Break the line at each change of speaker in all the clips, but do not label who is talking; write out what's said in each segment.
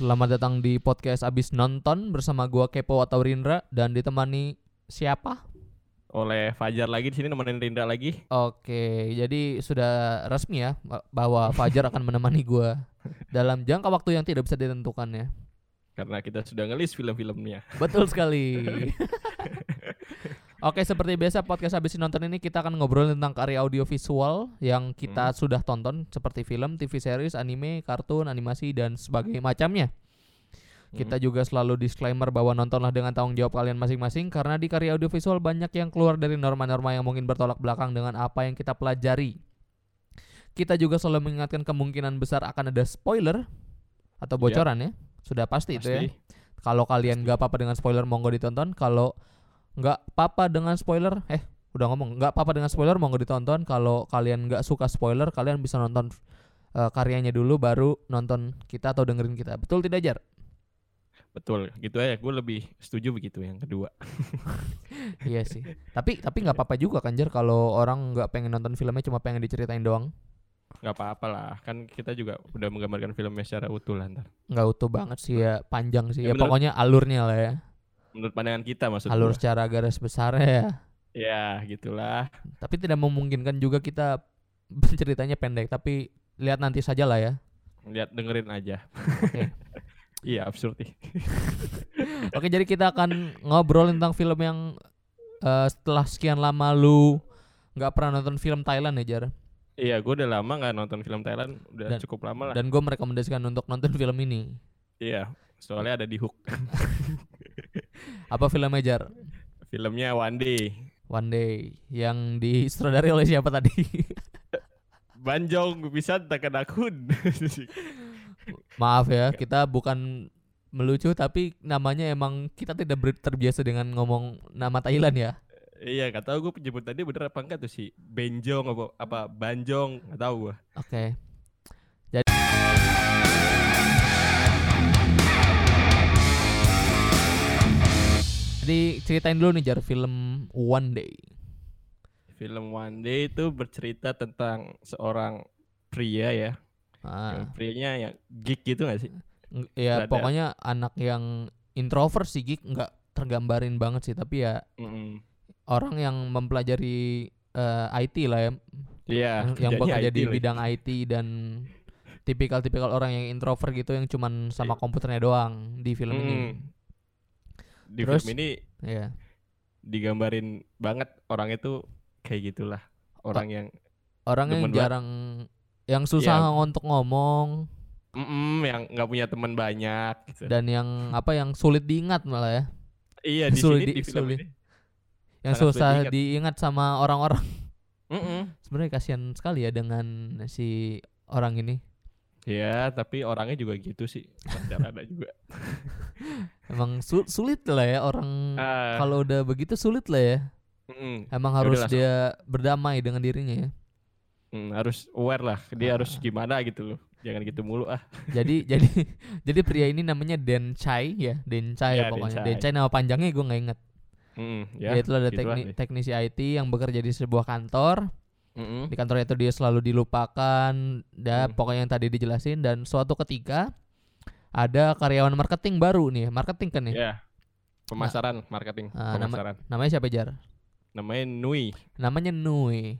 Selamat datang di podcast abis nonton bersama gua Kepo atau Rindra dan ditemani siapa?
oleh Fajar lagi di sini nemenin Rindra lagi.
Oke, jadi sudah resmi ya ba- bahwa Fajar akan menemani gua dalam jangka waktu yang tidak bisa ditentukan ya.
karena kita sudah ngelis film-filmnya.
Betul sekali. Oke, seperti biasa podcast habis nonton ini kita akan ngobrol tentang karya audiovisual yang kita sudah tonton seperti film, TV series, anime, kartun, animasi dan sebagainya macamnya. Kita
Hmm,
juga selalu disclaimer bahwa nontonlah dengan tanggung jawab kalian masing-masing karena di karya audiovisual banyak yang keluar dari norma-norma yang mungkin bertolak belakang dengan apa yang kita pelajari. Kita juga selalu mengingatkan kemungkinan besar akan ada spoiler atau
Iya.
bocoran ya. Sudah pasti, itu ya. Kalau kalian nggak apa-apa dengan spoiler monggo ditonton. Kalau nggak apa-apa dengan spoiler, eh udah ngomong nggak apa-apa dengan spoiler monggo ditonton. Kalau kalian nggak suka spoiler, kalian bisa nonton eh, karyanya dulu baru nonton kita atau dengerin kita. Betul tidak Jar?
Betul, gitu aja. Gue lebih setuju begitu yang kedua.
iya sih. Tapi tapi nggak apa-apa juga kan Jar kalau orang nggak pengen nonton filmnya cuma pengen diceritain doang.
Gak apa-apa lah, kan kita juga udah menggambarkan filmnya secara utuh lah ntar.
Nggak utuh banget sih ya, panjang sih.
Ya,
Ya,
bener.
pokoknya alurnya lah ya.
Menurut pandangan kita maksudnya.
Alur secara garis besarnya ya.
Ya, gitulah.
Tapi tidak memungkinkan juga kita ceritanya pendek, tapi lihat nanti saja lah ya.
Lihat dengerin aja.
Oke.
iya, absurd nih.
Oke, jadi kita akan ngobrol tentang film yang eh, setelah sekian lama lu nggak pernah nonton film Thailand ya Jar
Iya, gue udah lama nggak nonton film Thailand, udah
Dan-
cukup lama lah.
dan gue merekomendasikan untuk nonton film ini
Iya, soalnya ada di hook.
apa filmnya Jar
Filmnya One Day.
One Day yang disutradari oleh siapa tadi
Banjong bisa takkan akun.
maaf ya kita bukan melucu tapi namanya emang kita tidak ber- terbiasa dengan ngomong nama Thailand ya
iya, gak tau gue penyebut tadi bener apa enggak tuh si Benjong apa, apa Banjong, gak tau gue.
oke Jadi ceritain dulu nih Jar film One Day.
Film One Day itu bercerita tentang seorang pria ya.
Ah.
Yang prianya yang geek gitu gak sih?
Ng- Ya
Nggak ada.
pokoknya anak yang introvert sih Gik nggak tergambarin banget sih tapi ya
Mm-mm.
orang yang mempelajari eh, IT lah ya
Iya.
yang- yang
kerjanya
bekerja
IT
di
lagi.
bidang IT dan tipikal-tipikal orang yang introvert gitu yang cuman sama
Iya.
komputernya doang di film ini.
Mm. Di
Terus?
film ini
Ya.
digambarin banget orang itu kayak gitulah. Orang yang
Orang yang
Demen banget. Iya.
jarang yang susah untuk ngomong
mm yang nggak punya teman banyak gitu.
dan yang apa yang sulit diingat malah ya.
iya di
sulit
sini
di-
di film
sulit.
ini.
Yang
Sangat sulit
susah
diingat.
diingat sama orang-orang.
Mm-mm.
Sebenarnya kasihan sekali ya dengan si orang ini.
Iya, tapi orangnya juga gitu sih. Pacar ada juga.
Emang su- sulit lah ya orang
Ah,
kalau udah begitu sulit lah ya.
mm-mm.
Emang
Ya
harus
udah lah,
dia berdamai dengan dirinya ya.
Mm, harus aware lah. Dia harus
Ah.
gimana gitu loh. Jangan gitu mulu ah.
Jadi jadi jadi pria ini namanya Den Chai ya, Den Chai
Ya, Den
pokoknya.
Chai.
Den Chai nama panjangnya gue nggak inget.
Mm,
Dia
ya.
itu ada
gitulah
tekni-
deh.
teknisi IT yang bekerja di sebuah kantor.
Mm-mm.
Di kantor itu dia selalu dilupakan. Dah
Hmm.
pokoknya yang tadi dijelasin dan suatu ketika ada karyawan marketing baru nih, marketing kan ya.
Ya. Pemasaran, marketing,
Ah, nama-
pemasaran.
Namanya siapa Jar?
Namanya Nui,
Namanya Nui.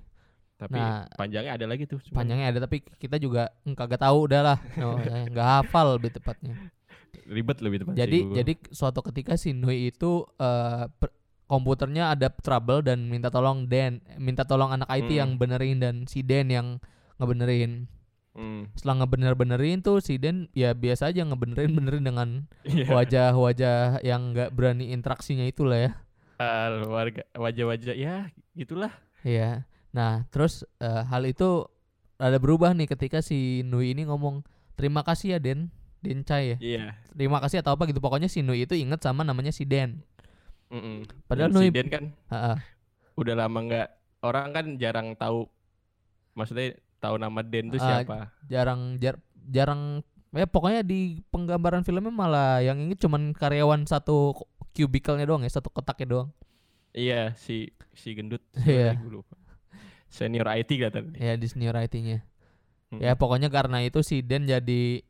tapi
Nah.
panjangnya ada lagi tuh. cuma
panjangnya ada tapi kita juga kagak tahu udahlah No, eh, nggak hafal lebih tepatnya
ribet lebih tepat.
jadi
sih gua.
jadi suatu ketika si Nui itu eh, per- komputernya ada trouble dan minta tolong Dan minta tolong anak IT
Hmm.
yang benerin dan si Dan yang ngebenerin
Mm,
setelah ngebener-benerin tuh si Dan ya biasa aja ngebenerin benerin dengan
iya.
wajah-wajah yang nggak berani interaksinya itulah ya
Ah, warga wajah-wajah ya gitulah.
Iya. Nah, terus eh, hal itu ada berubah nih ketika si Nui ini ngomong terima kasih ya Den, Den Chai ya.
Iya.
Terima kasih atau apa gitu. Pokoknya si Nui itu inget sama namanya si Den.
Mm-mm.
Padahal
Hmm. Dan si
Nui-
Den kan
Heeh.
udah lama nggak orang kan jarang tahu maksudnya tahu nama Den tuh
Ah,
siapa.
jarang jar- jarang ya pokoknya di penggambaran filmnya malah yang inget cuman karyawan satu ku- cubicle-nya doang ya, satu kotaknya doang.
Iya, si si gendut.
Iya.
Gue lupa. Senior IT kelihatan.
Ya di senior IT-nya.
Mm.
Ya pokoknya karena itu si Den jadi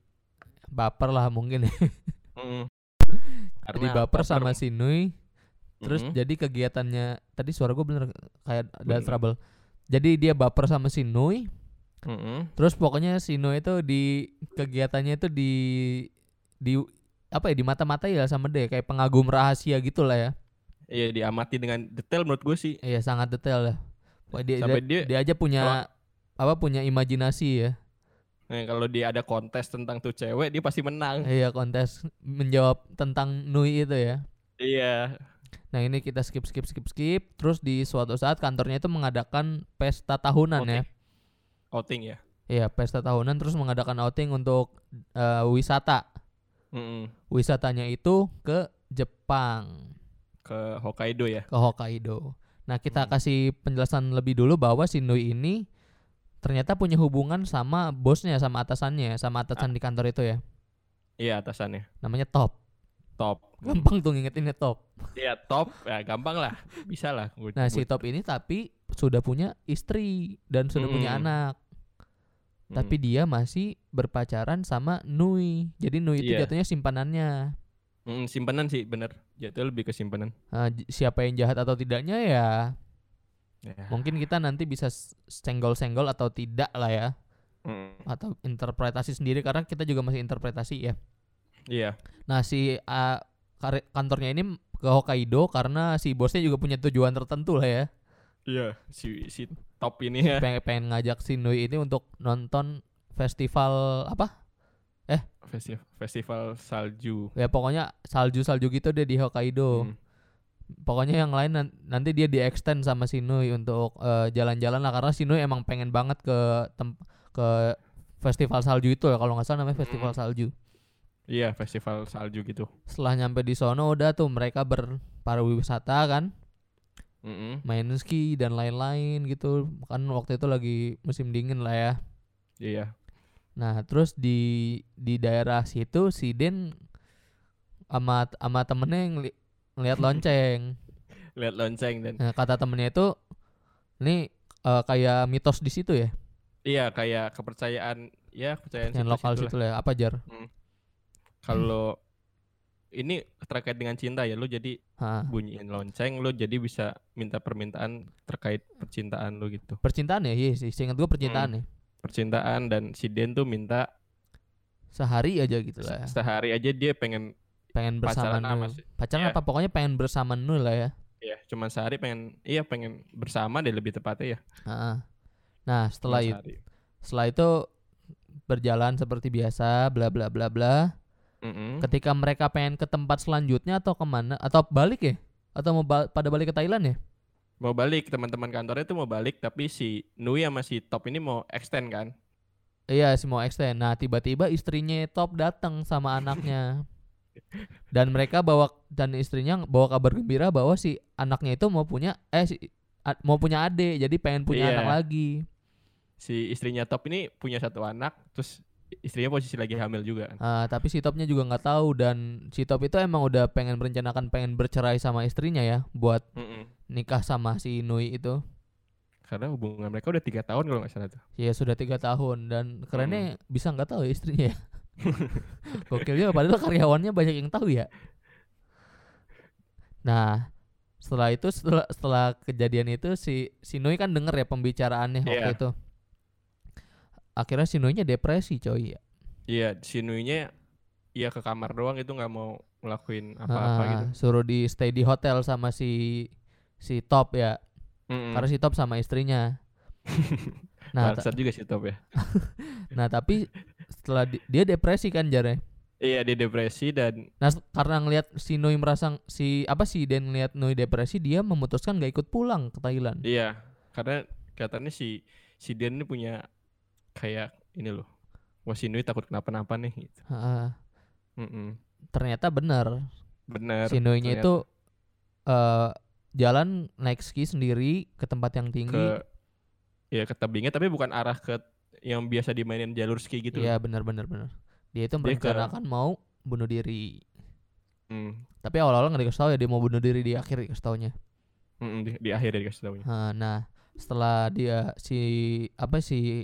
baper lah mungkin ya.
Mm.
Jadi
Karena
baper sama si Nui. Terus
Mm-mm.
jadi kegiatannya tadi suara gue bener kayak ada
Bener.
trouble. Jadi dia baper sama si Nui.
Mm-mm.
Terus pokoknya si Nui itu di kegiatannya itu di di apa ya di mata-mata ya sama dia kayak pengagum rahasia gitu lah ya.
Iya diamati dengan detail menurut gue sih.
Iya sangat detail lah. Wah, dia,
Sampai
dia,
dia-
dia aja punya apa punya imajinasi ya.
Nah, kalau dia ada kontes tentang tuh cewek dia pasti menang.
Iya kontes menjawab tentang Nui itu ya.
Iya.
Nah ini kita skip skip skip skip. Terus di suatu saat kantornya itu mengadakan pesta tahunan ya.
Outing. Outing ya.
Iya pesta tahunan terus mengadakan outing untuk eh, wisata.
Mm-mm.
Wisatanya itu ke Jepang
Ke Hokkaido ya.
ke Hokkaido. Nah kita
Hmm.
kasih penjelasan lebih dulu bahwa si Nui ini ternyata punya hubungan sama bosnya, sama atasannya, sama
Ah.
atasan di kantor itu ya.
Iya atasannya.
Namanya Top.
Top.
Gampang tuh ngingetinnya Top.
Iya top. Ya gampang lah. Bisa lah. Gua-
Nah si
gua-
Top ini tapi sudah punya istri dan sudah punya
Mm-mm.
anak.
Mm.
tapi dia masih berpacaran sama Nui. Jadi Nui itu
Iya.
jatuhnya simpanannya.
Mm, simpanan sih bener. Jatuh lebih ke simpanan.
Nah, j- siapa yang jahat atau tidaknya ya
Ya.
mungkin kita nanti bisa s- senggol-senggol atau tidak lah ya
Mm.
atau interpretasi sendiri karena kita juga masih interpretasi ya.
Iya.
Nah, si ah, kare- kantornya ini ke Hokkaido karena si bosnya juga punya tujuan tertentu lah ya.
Iya. Si si top ini ya.
Pengen pengen ngajak si Nui ini untuk nonton festival apa?
Festi- Festival salju.
Ya pokoknya salju-salju gitu deh di Hokkaido.
Mm.
pokoknya yang lain nan- nanti dia di extend sama Sinui untuk eh, jalan-jalan lah karena Sinui emang pengen banget ke tem- ke festival salju itu ya kalau nggak salah namanya festival
Mm.
salju.
Iya festival salju gitu.
Setelah nyampe di sono udah tuh mereka berpariwisata kan,
Mm-mm.
main ski dan lain-lain gitu. Kan waktu itu lagi musim dingin lah ya.
Iya.
Nah, terus di di daerah situ si Den sama sama temennya ngeli- ngeliat lonceng.
Lihat lonceng dan
Nah, kata temennya itu ini eh, kayak mitos di situ ya,
iya kayak kepercayaan ya kepercayaan
yang
situ-
lokal
situ lah.
situ lah. ya. Apa jar?
Kalau ini terkait dengan cinta ya lu jadi
Ha.
bunyiin lonceng lu jadi bisa minta permintaan terkait percintaan lu gitu.
Percintaan ya, iya sih. Seingat gua
Hmm.
percintaan ya.
Percintaan dan si Den tuh minta
Sehari aja gitu lah. ya.
se- sehari aja dia pengen
Pengen bersama
pacaran sama
nul.
si-
Pacaran
iya.
apa pokoknya pengen bersama nul lah ya.
ya cuman sehari pengen iya pengen bersama deh lebih tepatnya ya.
Ha. Nah, setelah itu,
cuman sehari.
setelah itu berjalan seperti biasa, bla bla bla bla.
Mm-mm.
Ketika mereka pengen ke tempat selanjutnya atau kemana atau balik ya? Atau mau ba- pada balik ke Thailand ya?
Mau balik teman-teman kantornya tuh mau balik tapi si Nui sama si Top ini mau extend kan.
Iya, semua extend. Nah, tiba-tiba istrinya Top datang sama anaknya. dan mereka bawa dan istrinya bawa kabar gembira bahwa si anaknya itu mau punya eh si, a- mau punya adik, jadi pengen punya
Iya.
anak lagi.
Si istrinya Top ini punya satu anak terus istrinya posisi lagi hamil juga kan.
Ah, tapi si Topnya juga nggak tahu dan si Top itu emang udah pengen merencanakan pengen bercerai sama istrinya ya buat
Mm-mm.
nikah sama si Nui itu.
Karena hubungan mereka udah tiga tahun kalau nggak salah tuh.
Ya sudah tiga tahun dan
Hmm.
kerennya bisa nggak tahu ya istrinya ya. Gokil juga padahal karyawannya banyak yang tahu ya. Nah, setelah itu setelah setelah kejadian itu si Sinoi kan denger ya pembicaraannya waktu
Iya.
itu. Akhirnya Sinoinya depresi coy ya.
Iya, si Nui-nya ya ke kamar doang itu nggak mau ngelakuin apa-apa
Ah,
gitu.
Suruh di stay di hotel sama si si Top ya.
Mm-mm.
Karena si Top sama istrinya. nah, ta-
Hmm. Bangsat juga si Top ya.
nah tapi setelah di- dia depresi kan Jare.
Iya, dia depresi dan
Nah, s- karena ngelihat si Nui merasa ng- si apa si Den ngelihat Nui depresi, dia memutuskan gak ikut pulang ke Thailand.
iya, karena katanya si si Dian ini punya kayak ini loh. Wah, si Nui takut kenapa-napa nih gitu.
Heeh.
Mm-mm.
ternyata benar.
Bener.
Si Nui-nya
ternyata.
itu eh jalan naik ski sendiri ke tempat yang tinggi.
ke ya ke tebingnya tapi bukan arah ke yang biasa dimainin jalur ski gitu.
Iya, benar benar benar. Dia itu
Dia ke-
merencanakan mau bunuh diri.
Mm.
Tapi awal-awal nggak dikasih tahu ya dia mau bunuh diri di akhir dikasih taunya.
Mm-mm, di, di akhir ya dikasih taunya.
Heeh, nah, setelah dia si apa si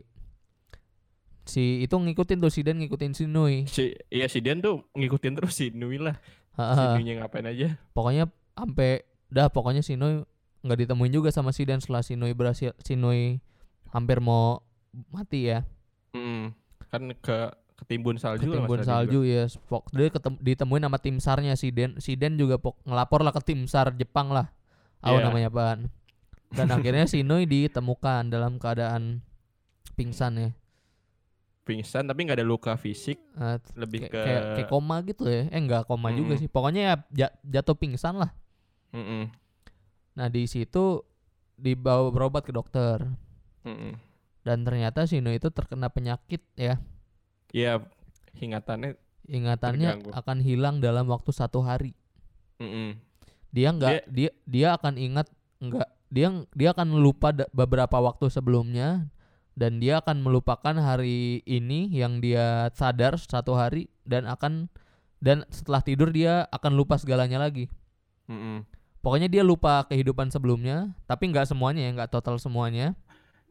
si si itu ngikutin tuh si Dan ngikutin si Nui.
Si, iya si Dian tuh ngikutin terus si Nui lah. Si
Heeh.
Nui ngapain aja.
pokoknya sampai dah pokoknya si Nui nggak ditemuin juga sama si Dan setelah si Nui berhasil si Nui hampir mau mati ya
Mm. Kan ke ketimbun salju lah
ketimbun
masalah dia
salju ya pok dia ketem- ditemuin sama tim sarnya si Den si Den juga pok ngelapor lah ke tim sar Jepang lah Aku
Iya.
namanya apaan dan akhirnya si Nui ditemukan dalam keadaan pingsan ya
bilang. Pingsan tapi nggak ada luka fisik,
Eh,
lebih
kayak-
ke
kayak kayak koma gitu ya eh nggak koma juga
Mm-mm.
sih pokoknya ya ja- jatuh pingsan lah
Mm-mm.
nah di situ dibawa berobat ke dokter
Mm-mm.
dan ternyata Shino itu terkena penyakit ya
Iya, hingatannya
ingatannya
Terganggu.
akan hilang dalam waktu satu hari
mm-mm.
dia nggak dia dia akan ingat nggak dia dia akan lupa da- beberapa waktu sebelumnya dan dia akan melupakan hari ini yang dia sadar satu hari dan akan dan setelah tidur dia akan lupa segalanya lagi
Mm-mm.
pokoknya dia lupa kehidupan sebelumnya tapi nggak semuanya ya nggak total semuanya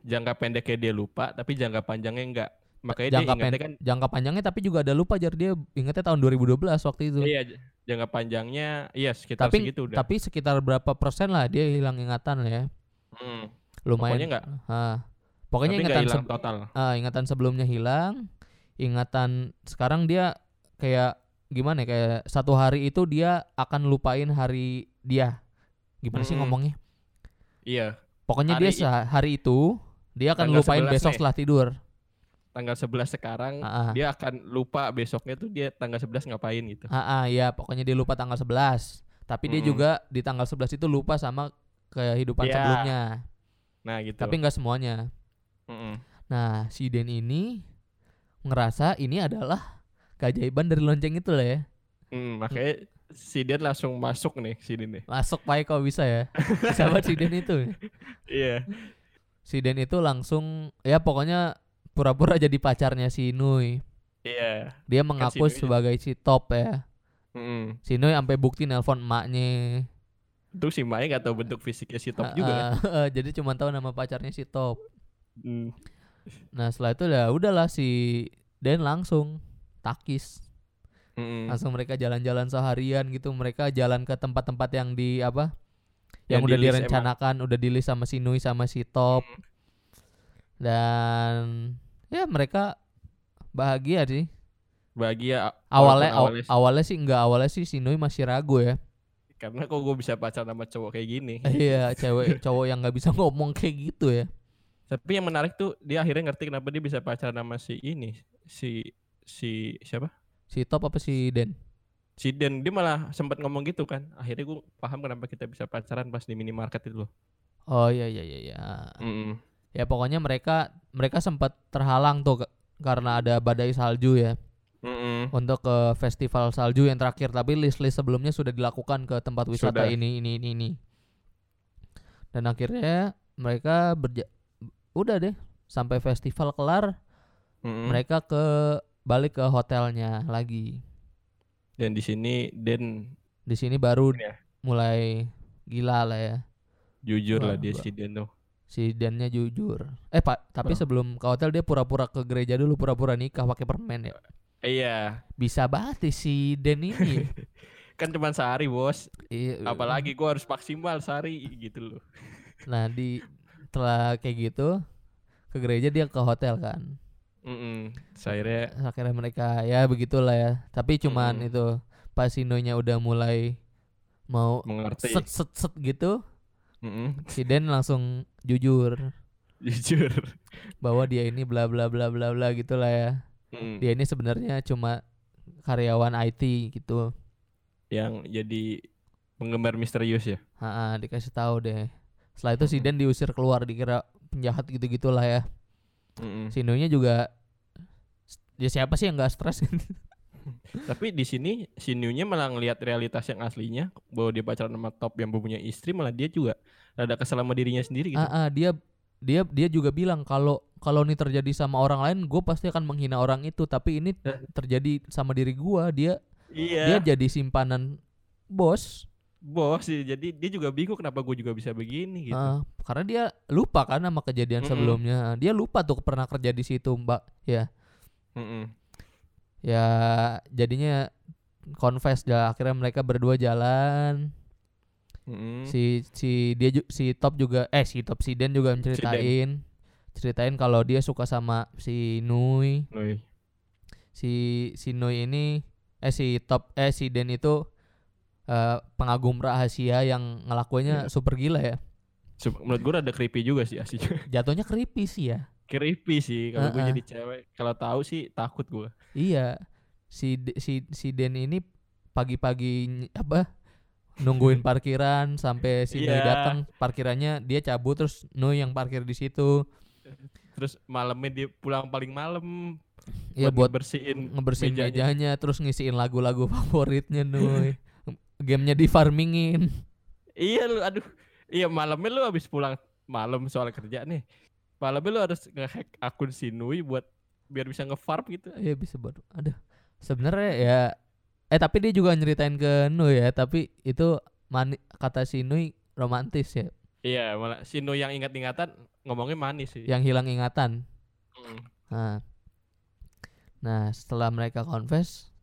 jangka pendeknya dia lupa, tapi jangka panjangnya enggak. Makanya
jangka
dia ingatnya
pen-
kan
jangka panjangnya tapi juga ada lupa jar dia ingatnya tahun 2012 waktu itu
iya j- jangka panjangnya iya sekitar
tapi
segitu udah.
tapi sekitar berapa persen lah dia hilang ingatan lah ya
Mm.
lumayan
Pokoknya nggak-
Hah. pokoknya
tapi nggak
ingatan
hilang
seb-
total.
ah, ingatan sebelumnya hilang ingatan sekarang dia kayak gimana ya kayak satu hari itu dia akan lupain hari dia gimana sih
Mm-mm.
ngomongnya
Iya,
pokoknya
Hmm.
dia
Hari i-
sehari hari itu dia akan
Tanggal
lupain
11
besok
nih.
setelah tidur
tanggal 11 sekarang
Ah, ah.
dia akan lupa besoknya tuh dia tanggal 11 ngapain gitu.
Ah, ah, ya pokoknya dia lupa tanggal 11 tapi dia
Mm-mm.
juga di tanggal 11 itu lupa sama kehidupan
Hmm. Iya,
sebelumnya
Nah, gitu.
tapi nggak semuanya
Mm-mm.
Nah, si Den ini ngerasa ini adalah keajaiban dari lonceng itu lah ya.
Mm, makanya si Dian langsung masuk nih sini nih.
Masuk Pak Eko bisa ya. Sahabat si Den itu.
Iya.
Si Den itu langsung ya pokoknya pura-pura jadi pacarnya si Nui.
Iya.
Dia mengaku
Nui jadi-
sebagai si top ya.
Mm.
Si Nui sampai bukti nelpon emaknya.
Tuh si Maya nggak tahu bentuk fisiknya si Top juga. kan.
Ah, ah, jadi cuma tahu nama pacarnya si top.
Mm.
Nah, setelah itu ya udahlah si Den langsung takis.
Mm-mm.
langsung mereka jalan-jalan seharian gitu mereka jalan ke tempat-tempat yang di apa yang,
Yang
udah
di-list
direncanakan udah di list sama si Nui sama si Top
Hmm.
dan ya mereka bahagia sih
Bahagia ah. a-
awalnya aw-
awalnya
awalnya,
sih.
sih nggak awalnya sih si Nui masih ragu ya
karena kok gue bisa pacaran sama cowok kayak gini.
iya cewek cowok yang nggak bisa ngomong kayak gitu ya
Tapi yang menarik tuh dia akhirnya ngerti kenapa dia bisa pacaran sama si ini, si si siapa?
si Top apa si Den
Si Dan dia malah sempat ngomong gitu kan. Akhirnya gue paham kenapa kita bisa pacaran pas di minimarket itu loh.
oh iya iya iya, iya.
Mm-mm.
ya pokoknya mereka mereka sempat terhalang tuh ke- karena ada badai salju ya
Mm-mm.
untuk ke festival salju yang terakhir tapi list-list sebelumnya sudah dilakukan ke tempat wisata
Sudah.
ini ini ini ini dan akhirnya mereka berja udah deh sampai festival kelar
Mm-mm.
mereka ke balik ke hotelnya lagi
Dan di sini Dan
di sini baru
Ini ya.
mulai gila lah ya
jujur
Wah,
lah dia
gua-
si Dan tuh.
si Dannya jujur eh pak tapi
Wah.
sebelum ke hotel dia pura-pura ke gereja dulu pura-pura nikah pakai permen ya
Iya,
bisa banget sih si Dan ini
kan cuma sehari bos.
Iya.
Apalagi gue harus maksimal sehari gitu loh.
Nah di setelah kayak gitu ke gereja dia ke hotel kan.
Mm-mm. Akhirnya
Akhirnya mereka ya begitulah ya. Tapi cuman
Mm-mm.
itu pas Sinonya udah mulai mau
mengerti.
set set set gitu,
Mm-mm.
si Den langsung jujur
Jujur.
bahwa dia ini bla bla bla bla bla gitulah ya.
Mm.
Dia ini sebenarnya cuma karyawan IT gitu.
Yang jadi penggemar misterius ya.
Ha, dikasih tahu deh. Setelah itu si Den diusir keluar dikira penjahat gitu-gitulah ya.
Mm-mm.
Sinonya juga ya siapa sih yang nggak stres
Tapi di sini si New-nya malah ngelihat realitas yang aslinya bahwa dia pacaran sama top yang mempunyai istri malah dia juga rada kesel sama dirinya sendiri gitu.
Ah, ah, dia dia dia juga bilang kalau kalau ini terjadi sama orang lain, gue pasti akan menghina orang itu. Tapi ini
Eh.
terjadi sama diri gue, dia
iya.
dia jadi simpanan bos.
bos sih. Jadi dia juga bingung kenapa gue juga bisa begini gitu.
Ah, karena dia lupa kan sama kejadian
Mm-mm.
sebelumnya. Dia lupa tuh pernah kerja di situ, Mbak. Ya,
Mm-mm.
ya jadinya confess dah akhirnya mereka berdua jalan
Mm-mm.
si si dia ju- si top juga eh si top si Den juga ceritain ceritain kalau dia suka sama si Nui
Nui.
si si Nui ini eh si top eh si Den itu eh, pengagum rahasia yang ngelakuinnya
Iya.
super gila ya
Sup- Menurut gue ada creepy juga sih aslinya.
jatuhnya creepy sih ya
creepy sih kalau gue
Heeh.
jadi cewek. Kalau tahu sih takut gue.
iya si D- si si Den ini pagi-pagi ny- apa nungguin parkiran sampai si Nui
Iya.
datang parkirannya dia cabut terus Nui yang parkir di situ
Terus malamnya dia pulang paling malam
ya buat
bersihin
ngebersihin mejanya. terus ngisiin lagu-lagu favoritnya Nui gamenya di farmingin
Iya lu aduh. Iya malamnya lu habis pulang malam soal kerja nih. Malamnya lu harus ngehack akun Sinui buat biar bisa ngefarm gitu.
ya bisa buat ada sebenarnya ya eh tapi dia juga nyeritain ke Nui ya tapi itu mani, kata si Nui romantis ya
Iya, malah Sinui yang ingat-ingatan ngomongnya manis sih.
yang hilang ingatan
Mm.
Nah, nah setelah mereka confess,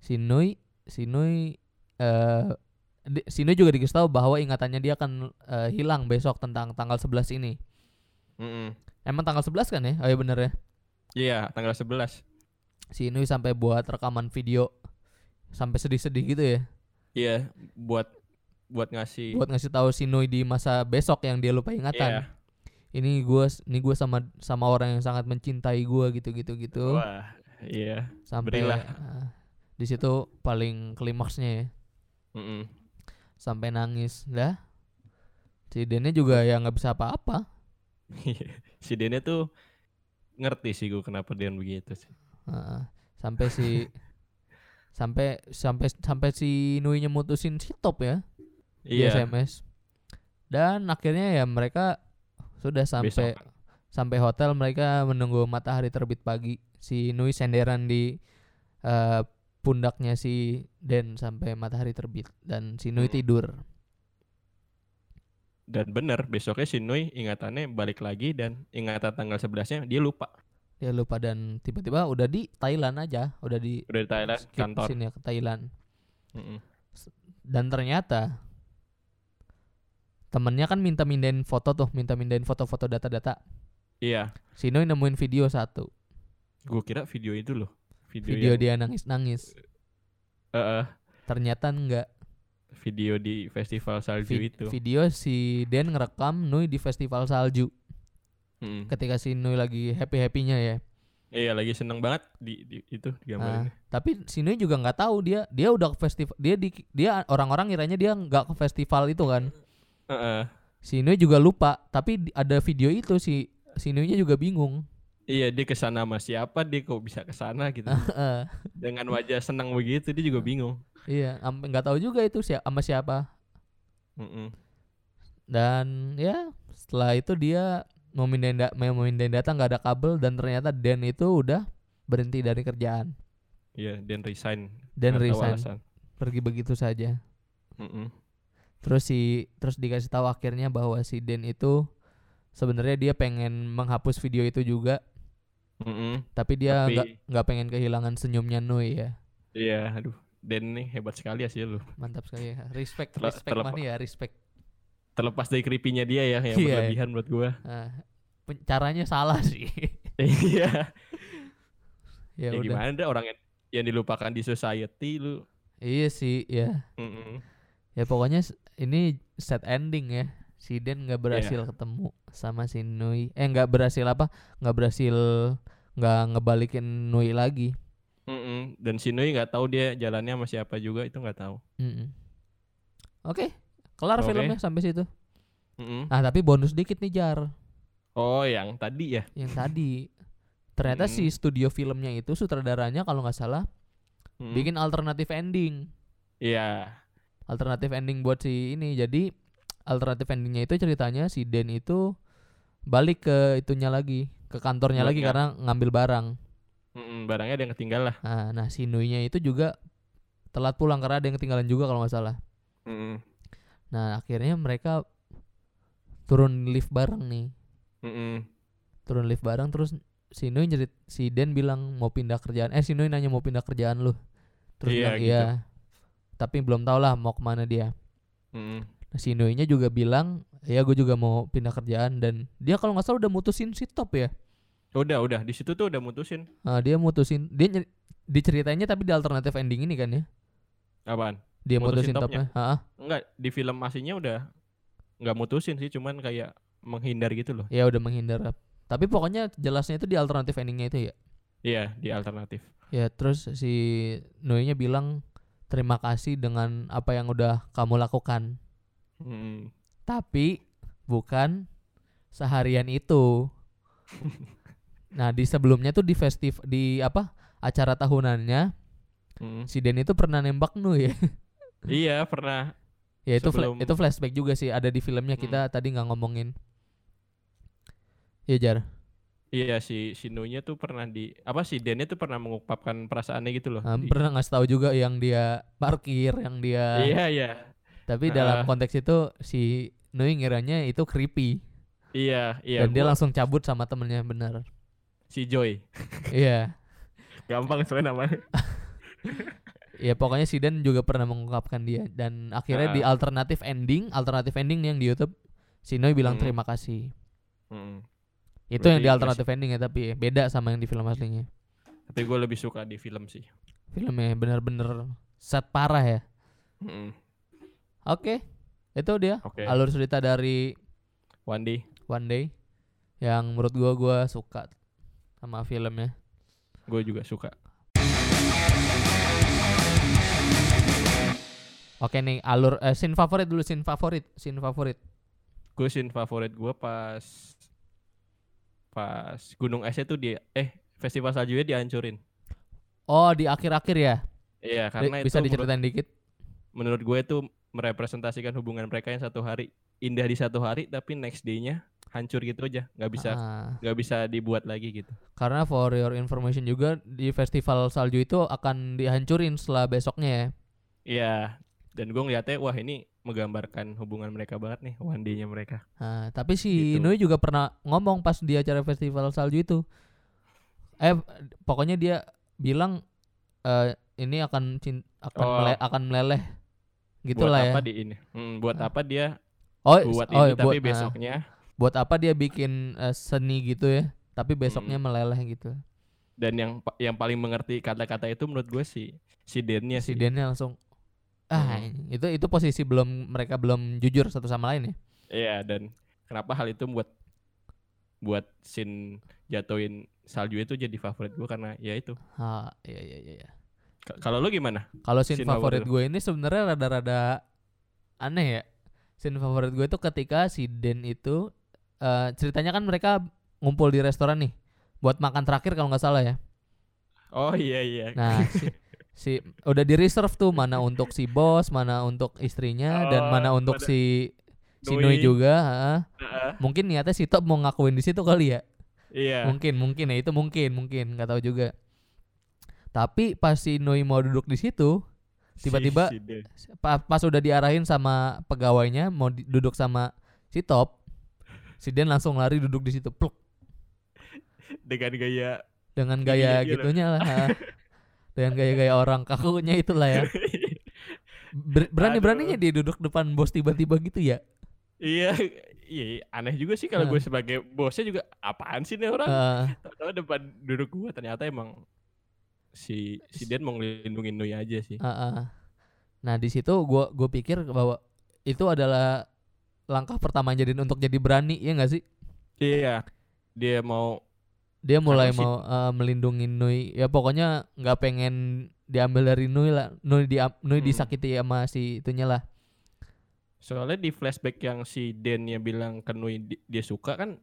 si Nui, si Nui, eh, di- si Nui juga dikasih tahu bahwa ingatannya dia akan eh, hilang besok tentang tanggal 11 ini.
Mm-mm.
Emang tanggal 11 kan ya? Oh iya bener ya.
Iya, tanggal 11.
Si Nui sampai buat rekaman video sampai sedih-sedih gitu ya
Iya, buat buat ngasih
buat ngasih tahu si Nui di masa besok yang dia lupa ingatan.
Iya.
Ini gua ini gua sama sama orang yang sangat mencintai gua gitu-gitu gitu.
Wah, iya.
sampai
berilah.
eh, di situ paling klimaksnya ya.
Mm-mm.
sampai nangis dah si Dennya juga ya nggak bisa apa-apa
si Dene tuh ngerti sih gue kenapa dia begitu sih.
Heeh. sampai si sampai sampai sampai si Nui mutusin si Top ya di
Iya.
SMS dan akhirnya ya mereka sudah sampai
besok.
sampai hotel mereka menunggu matahari terbit pagi si Nui senderan di eh, pundaknya si Den sampai matahari terbit dan si Nui
Hmm.
tidur
Dan bener, besoknya si Nui ingatannya balik lagi dan ingatan tanggal 11-nya dia lupa.
dia lupa dan tiba-tiba udah di Thailand aja udah di
Udah di Thailand,
skip
kantor.
sini ya, ke Thailand
Mm-mm.
dan ternyata temennya kan minta mindahin foto tuh minta mindahin foto-foto data-data
Iya,
Sino nemuin video satu
gue kira video itu loh. Video,
video dia
yang-
nangis-nangis
Eh, eh,
ternyata enggak
video di festival salju
Vi-
itu.
video si Den ngerekam Nui di festival salju
Mm-mm.
ketika si Nui lagi happy-happynya ya
Iya, lagi seneng banget di, di- itu
Ah,
gambarnya.
tapi si Nui juga nggak tahu dia dia udah ke festival dia di dia orang-orang kiranya dia nggak ke festival itu kan
Heeh.
si Nui juga lupa tapi di- ada video itu si si Nui-nya juga bingung
Iya, dia kesana sama siapa, dia kok bisa kesana gitu.
Heeh.
Dengan wajah senang begitu, dia
Ah.
juga bingung.
Iya, sampai nggak tahu juga itu siapa sama siapa.
Mm-mm.
Dan ya setelah itu dia mau mindahin da- mau mindahin data nggak ada kabel dan ternyata Dan itu udah berhenti dari kerjaan
Iya, dan resign.
dan
Nggak tahu
resign
alasan.
pergi begitu saja.
Mm-mm.
Terus si terus dikasih tahu akhirnya bahwa si Dan itu sebenarnya dia pengen menghapus video itu juga,
Mm-mm.
tapi dia
Tapi-
nggak nggak pengen kehilangan senyumnya Nui ya.
Iya, aduh. Dan nih hebat sekali ya sih lu.
Mantap sekali ya. Respect,
Terle-
respect
terlepa-
money ya, respect.
Terlepas dari creepy-nya dia ya,
Iya,
yang
iya.
berlebihan buat gua.
Ah, pen- caranya salah sih.
Iya.
ya,
ya,
udah.
gimana dah orang yang, yang dilupakan di society lu.
Iya sih, ya.
Mm-mm.
Ya pokoknya s- ini set ending ya. Si Den nggak berhasil
Iya.
ketemu sama si Nui. Eh nggak berhasil apa? Nggak berhasil nggak ngebalikin Nui lagi.
Mm-mm. Dan Sinui nggak tahu dia jalannya sama siapa juga itu nggak tahu.
Mm-mm. Oke, kelar
Oke.
filmnya sampai situ.
Mm-mm.
Nah tapi bonus dikit nih Jar,
Oh, yang tadi ya.
yang tadi. Ternyata
Mm.
si studio filmnya itu sutradaranya kalau nggak salah
Mm.
bikin alternatif ending.
Iya.
alternatif ending buat si ini jadi alternatif endingnya itu ceritanya si Den itu balik ke itunya lagi ke kantornya lagi karena
Buatnya.
ngambil barang
Mm-mm. Barangnya ada yang ketinggalan.
nah, nah si Nui-nya itu juga telat pulang karena ada yang ketinggalan juga kalau nggak salah
Mm-mm.
nah akhirnya mereka turun lift bareng nih
Mm-mm.
turun lift bareng terus si Nui nyerit si Den bilang mau pindah kerjaan eh si Nui nanya mau pindah kerjaan lu terus
Iya,
bilang
gitu.
iya tapi belum tau lah mau kemana dia
Mm.
nah, si Nui nya juga bilang ya gue juga mau pindah kerjaan dan dia kalau nggak salah udah mutusin si Top ya
Udah, udah. Di situ tuh udah mutusin.
Ah, dia mutusin dia nyeri- diceritainnya tapi di alternatif ending ini kan ya
Apaan?
dia mutusin,
Mutusin
topnya, Heeh.
Enggak, di film aslinya udah nggak mutusin sih, cuman kayak menghindar gitu loh.
ya udah menghindar tapi pokoknya jelasnya itu di alternatif endingnya itu ya
Iya, di alternatif.
Ya terus si Noe-nya bilang terima kasih dengan apa yang udah kamu lakukan.
Mm.
Tapi bukan seharian itu. nah di sebelumnya tuh di festiv di apa acara tahunannya
Mm.
si Den itu pernah nembak Nui ya.
Iya, pernah.
ya itu fla-
Sebelum- Hmm.
itu flashback juga sih ada di filmnya kita tadi nggak ngomongin. Ya jar.
Iya, si Shinunya tuh pernah di apa si Dennya tuh pernah mengungkapkan perasaannya gitu loh.
Nah,
Di-
pernah nggak tahu juga yang dia parkir, yang dia
Iya, iya.
Tapi dalam
Ah.
konteks itu si Nui ngiranya itu creepy
Iya, iya.
dan dia
Gua-
langsung cabut sama temennya benar.
si Joy.
Iya.
Gampang soalnya namanya.
Ya pokoknya si Dan juga pernah mengungkapkan dia dan akhirnya
Ah.
di alternatif ending, alternatif ending yang di YouTube si Nui bilang
Hmm.
terima kasih.
Mm.
Itu
Berarti iya
yang di alternatif ending ya tapi beda sama yang di film aslinya.
Tapi gue lebih suka di film sih.
Filmnya benar-benar set parah ya.
Mm.
Oke. Itu dia
Oke.
alur cerita dari
Wandi.
One Day yang menurut gua gua suka sama filmnya.
Gue juga suka.
Oke nih alur eh, scene favorit dulu scene favorit scene favorit
Gue scene favorit gue pas pas gunung esnya tuh di eh festival saljunya dihancurin.
oh di akhir-akhir ya
Iya,
Di-
karena
bisa
itu menurut,
diceritain dikit
menurut gue itu merepresentasikan hubungan mereka yang satu hari indah di satu hari tapi next day-nya hancur gitu aja, nggak bisa
Ah,
nggak bisa dibuat lagi gitu.
karena for your information juga di festival salju itu akan dihancurin setelah besoknya ya
Iya. Dan gue ngeliatnya wah ini menggambarkan hubungan mereka banget nih one day-nya mereka.
Ah, tapi si
Gitu.
Nui juga pernah ngomong pas di acara festival salju itu eh pokoknya dia bilang eh, ini akan cin- akan
Oh.
mele- akan meleleh
buat
gitulah ya
apa di ini? Mm, buat
Ah.
apa dia
oh
buat
oh,
ini tapi
ah.
besoknya
buat apa dia bikin eh, seni gitu ya tapi besoknya
Hmm.
meleleh gitu
dan yang pa- yang paling mengerti kata-kata itu menurut gue si si Dennya
si
Iya sih. Hmm.
Dennya langsung ah ini." itu itu posisi belum mereka belum jujur satu sama lain ya
Iya dan kenapa hal itu buat buat scene jatuhin salju itu jadi favorit gue karena ya itu.
ah iya iya iya iya.
K- Kalau lu gimana?
kalau scene,
Scene
favorit
favorit
gue ini sebenarnya rada-rada aneh ya scene favorit gue itu ketika si Den itu eh, ceritanya kan mereka ngumpul di restoran nih buat makan terakhir kalau nggak salah ya
Oh iya iya.
nah si, si- udah di reserve tuh mana untuk si bos mana untuk istrinya dan
Oh,
mana untuk
pada-
si si
Nui.
Nui juga heeh.
Heeh,
mungkin niatnya si Top mau ngakuin di situ kali ya
iya.
mungkin mungkin ya itu mungkin mungkin nggak tahu juga tapi pas si Nui mau duduk di situ
Si-
tiba-tiba-
si Den.
pa- pas udah diarahin sama pegawainya mau di- duduk sama si top si Den langsung lari duduk di situ pluk
dengan gaya
dengan
Iya,
gaya
iya lah.
gitunya lah ha. dengan gaya-gaya orang kakunya itulah ya berani beraninya dia duduk depan bos tiba-tiba gitu ya
Iya, iya iya. aneh juga sih kalau
Nah.
gue sebagai bosnya juga apaan sih nih orang?
Heeh.
Tahu depan duduk gue ternyata emang si si Den mau ngelindungin Nui aja sih.
Heeh. Nah di situ gue gue pikir bahwa itu adalah langkah pertama Jaden untuk jadi berani ya nggak sih?
Iya, dia mau
Dia mulai
Harus sih.
mau eh, melindungi Nui. Ya pokoknya nggak pengen diambil dari Nui lah. Nui di Nui
Hmm.
disakiti sama si itunya lah.
soalnya di flashback yang si Dennya bilang ke Nui di- dia suka kan,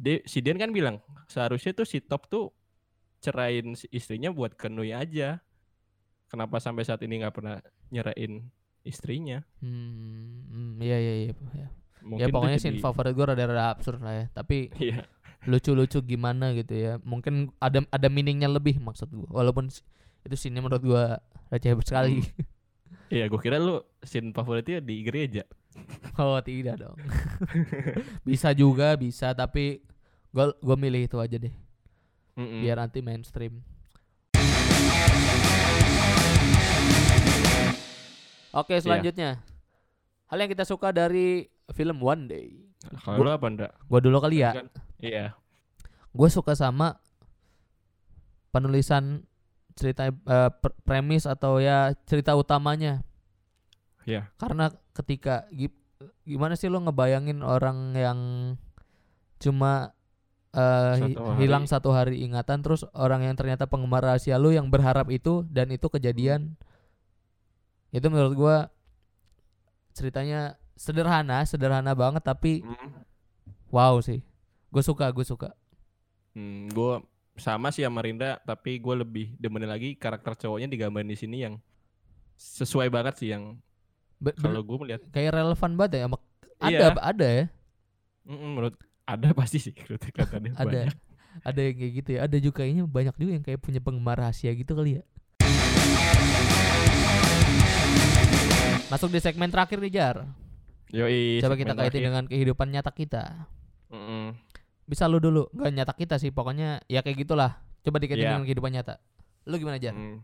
dia, si Den kan bilang seharusnya tuh si Top tuh cerain si istrinya buat ke Nui aja. Kenapa sampai saat ini nggak pernah nyerain istrinya?
Hmm, hmm, iya iya iya. Ya,
Mungkin
ya
tuh
pokoknya
jadi-
scene favorit gue rada-rada absurd lah ya. Tapi
Iya,
lucu-lucu gimana gitu ya. Mungkin ada ada meaningnya lebih maksud gue. Walaupun s- itu scene menurut gue receh sekali.
iya. Gue kira lu scene favoritnya di gereja. Hmm.
Oh tidak dong. bisa juga bisa tapi gue gue milih itu aja deh.
Mm-mm.
biar anti mainstream. Oke, selanjutnya. Hal yang kita suka dari film One Day.
Kalau lu apa enggak?
Gua dulu kali ya.
Kan- Iya.
Gue suka sama penulisan cerita eh, pre- premis atau ya cerita utamanya.
Iya.
Karena ketika gi- gimana sih lo ngebayangin orang yang cuma eh, hi-
Satu hari.
hilang satu hari ingatan terus orang yang ternyata penggemar rahasia lo yang berharap itu dan itu kejadian. Itu menurut gua ceritanya sederhana, sederhana banget tapi
Mm.
wow sih. Gue suka, gue suka.
Hmm, gue sama sih sama Rinda, tapi gue lebih demen lagi karakter cowoknya digambarin di sini yang sesuai banget sih yang
Be-
kalau gue melihat
kayak relevan banget ya sama ada
Iya.
ada ya
mm, menurut ada pasti sih kritik katanya
ada
banyak.
ada yang kayak gitu ya ada juga kayaknya banyak juga yang kayak punya penggemar rahasia gitu kali ya masuk di segmen terakhir nih Jar
Yoi,
coba
segmen
kita
terakhir.
kaitin dengan kehidupan nyata kita
Mm-mm.
bisa lu dulu nggak nyata kita sih pokoknya ya kayak gitulah coba dikaitin
Iya.
dengan kehidupan nyata lu gimana Jar
Mm.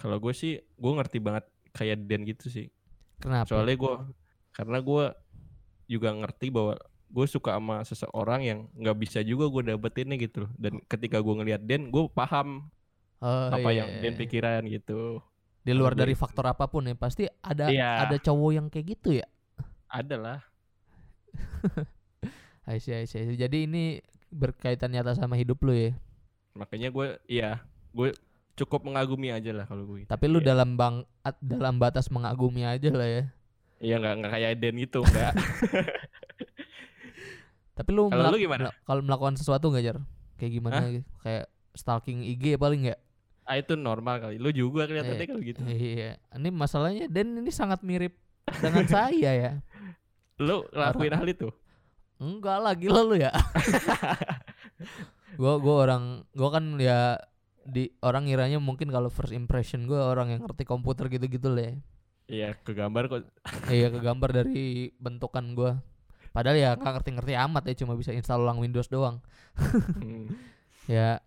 Kalau gue sih gue ngerti banget kayak Dan gitu sih.
kenapa
Soalnya gue karena gue juga ngerti bahwa gue suka sama seseorang yang nggak bisa juga gue dapetinnya gitu loh. Dan ketika gue ngelihat Dan, gue paham
Oh,
apa
iya.
yang Dan pikiran gitu.
di luar
Kalau
dari
gue-
faktor apapun ya pasti ada
Iya.
ada cowok yang kayak gitu ya
Adalah
I see, I see, I see. jadi ini berkaitan nyata sama hidup lu ya
makanya gue iya gue cukup mengagumi aja lah kalau gue
Tapi lu
Iya.
dalam bang at- dalam batas mengagumi aja lah ya.
iya nggak nggak kayak Den gitu nggak
Tapi lu
Kalau
melak-
lu gimana?
mela- kalau melakukan sesuatu nggak jar? Kayak gimana?
Hah?
gitu? Kayak stalking IG paling nggak?
ah itu normal kali lu juga kelihatannya
Eh,
kalau gitu
Iya. Ini masalahnya Dan ini sangat mirip dengan saya ya.
lu lakuin hal itu
Enggak lah gila lu ya. gua gua orang gua kan ya di orang ngiranya mungkin kalau first impression gua orang yang ngerti komputer gitu-gitu lah ya.
iya kegambar kok
Iya kegambar dari bentukan gua. Padahal ya nggak ngerti-ngerti amat ya cuma bisa install ulang Windows doang.
Hmm,
ya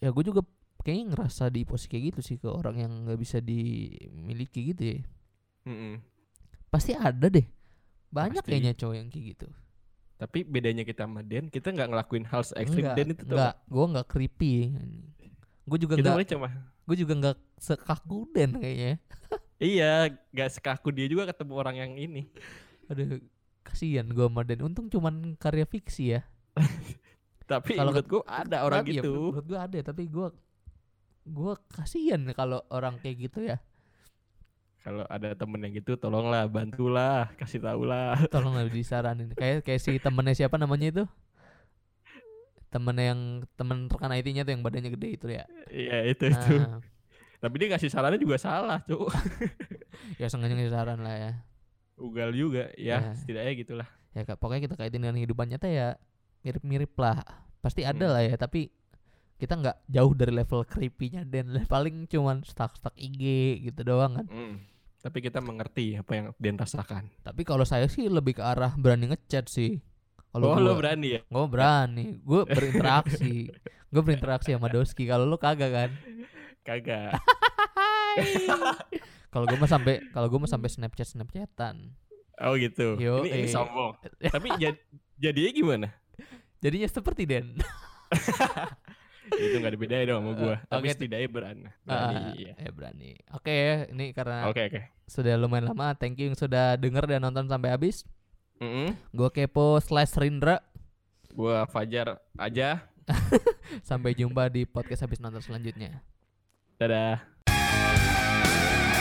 ya gue juga kayaknya ngerasa di posisi kayak gitu sih ke orang yang nggak bisa dimiliki gitu ya
mm-mm.
pasti ada deh banyak
Pasti.
kayaknya cowok yang kayak gitu
tapi bedanya kita sama Den kita nggak ngelakuin hal se ekstrim
Enggak,
Den itu Gitu tuh
enggak gue nggak creepy gue juga
kita
nggak
paling cuma
gue juga nggak sekaku dan kayaknya
iya nggak sekaku dia juga ketemu orang yang ini
aduh kasihan gue sama dan untung cuman karya fiksi ya
tapi
Kalau
menurut gue ada orang
Tapi ya,
gitu
menurut gue ada tapi gue gue kasihan kalau orang kayak gitu ya
kalau ada temen yang gitu tolonglah bantulah kasih tau lah
tolong lah disaranin kayak kayak si temennya siapa namanya itu temennya yang temen rekan IT-nya tuh yang badannya gede itu ya
iya itu itu
nah,
tapi dia ngasih sarannya juga salah tuh
ya sengaja ngasih saran lah ya
ugal juga ya
Ya.
setidaknya gitulah
ya Kak, pokoknya kita kaitin dengan kehidupan nyata ya mirip-mirip lah pasti ada
Hmm.
lah ya tapi kita nggak jauh dari level creepy-nya dan paling cuman stuck-stuck IG gitu doang kan
Hmm. tapi kita mengerti apa yang Dian rasakan
tapi kalau saya sih lebih ke arah berani ngechat sih
oh
gua-
lo berani ya
Gue berani, gue berinteraksi, gue berinteraksi sama Doski. Kalau lu kagak kan?
kagak
Kalau gue mah sampai, kalau gue mah sampai Snapchat Snapchatan.
oh gitu
Yo, eh.
ini, ini sombong tapi jad- jadinya gimana
Jadinya seperti Den.
itu nggak dibedain dong sama gue tapi
Eh, Oke.
setidaknya berani berani
Ah,
iya.
ya berani. Oke ya, ini karena
oke oke
sudah lumayan lama. Thank you yang sudah denger dan nonton sampai habis.
Mm-mm.
Gue kepo slash Rindra.
gue Fajar aja
Sampai jumpa di podcast habis nonton selanjutnya.
dadah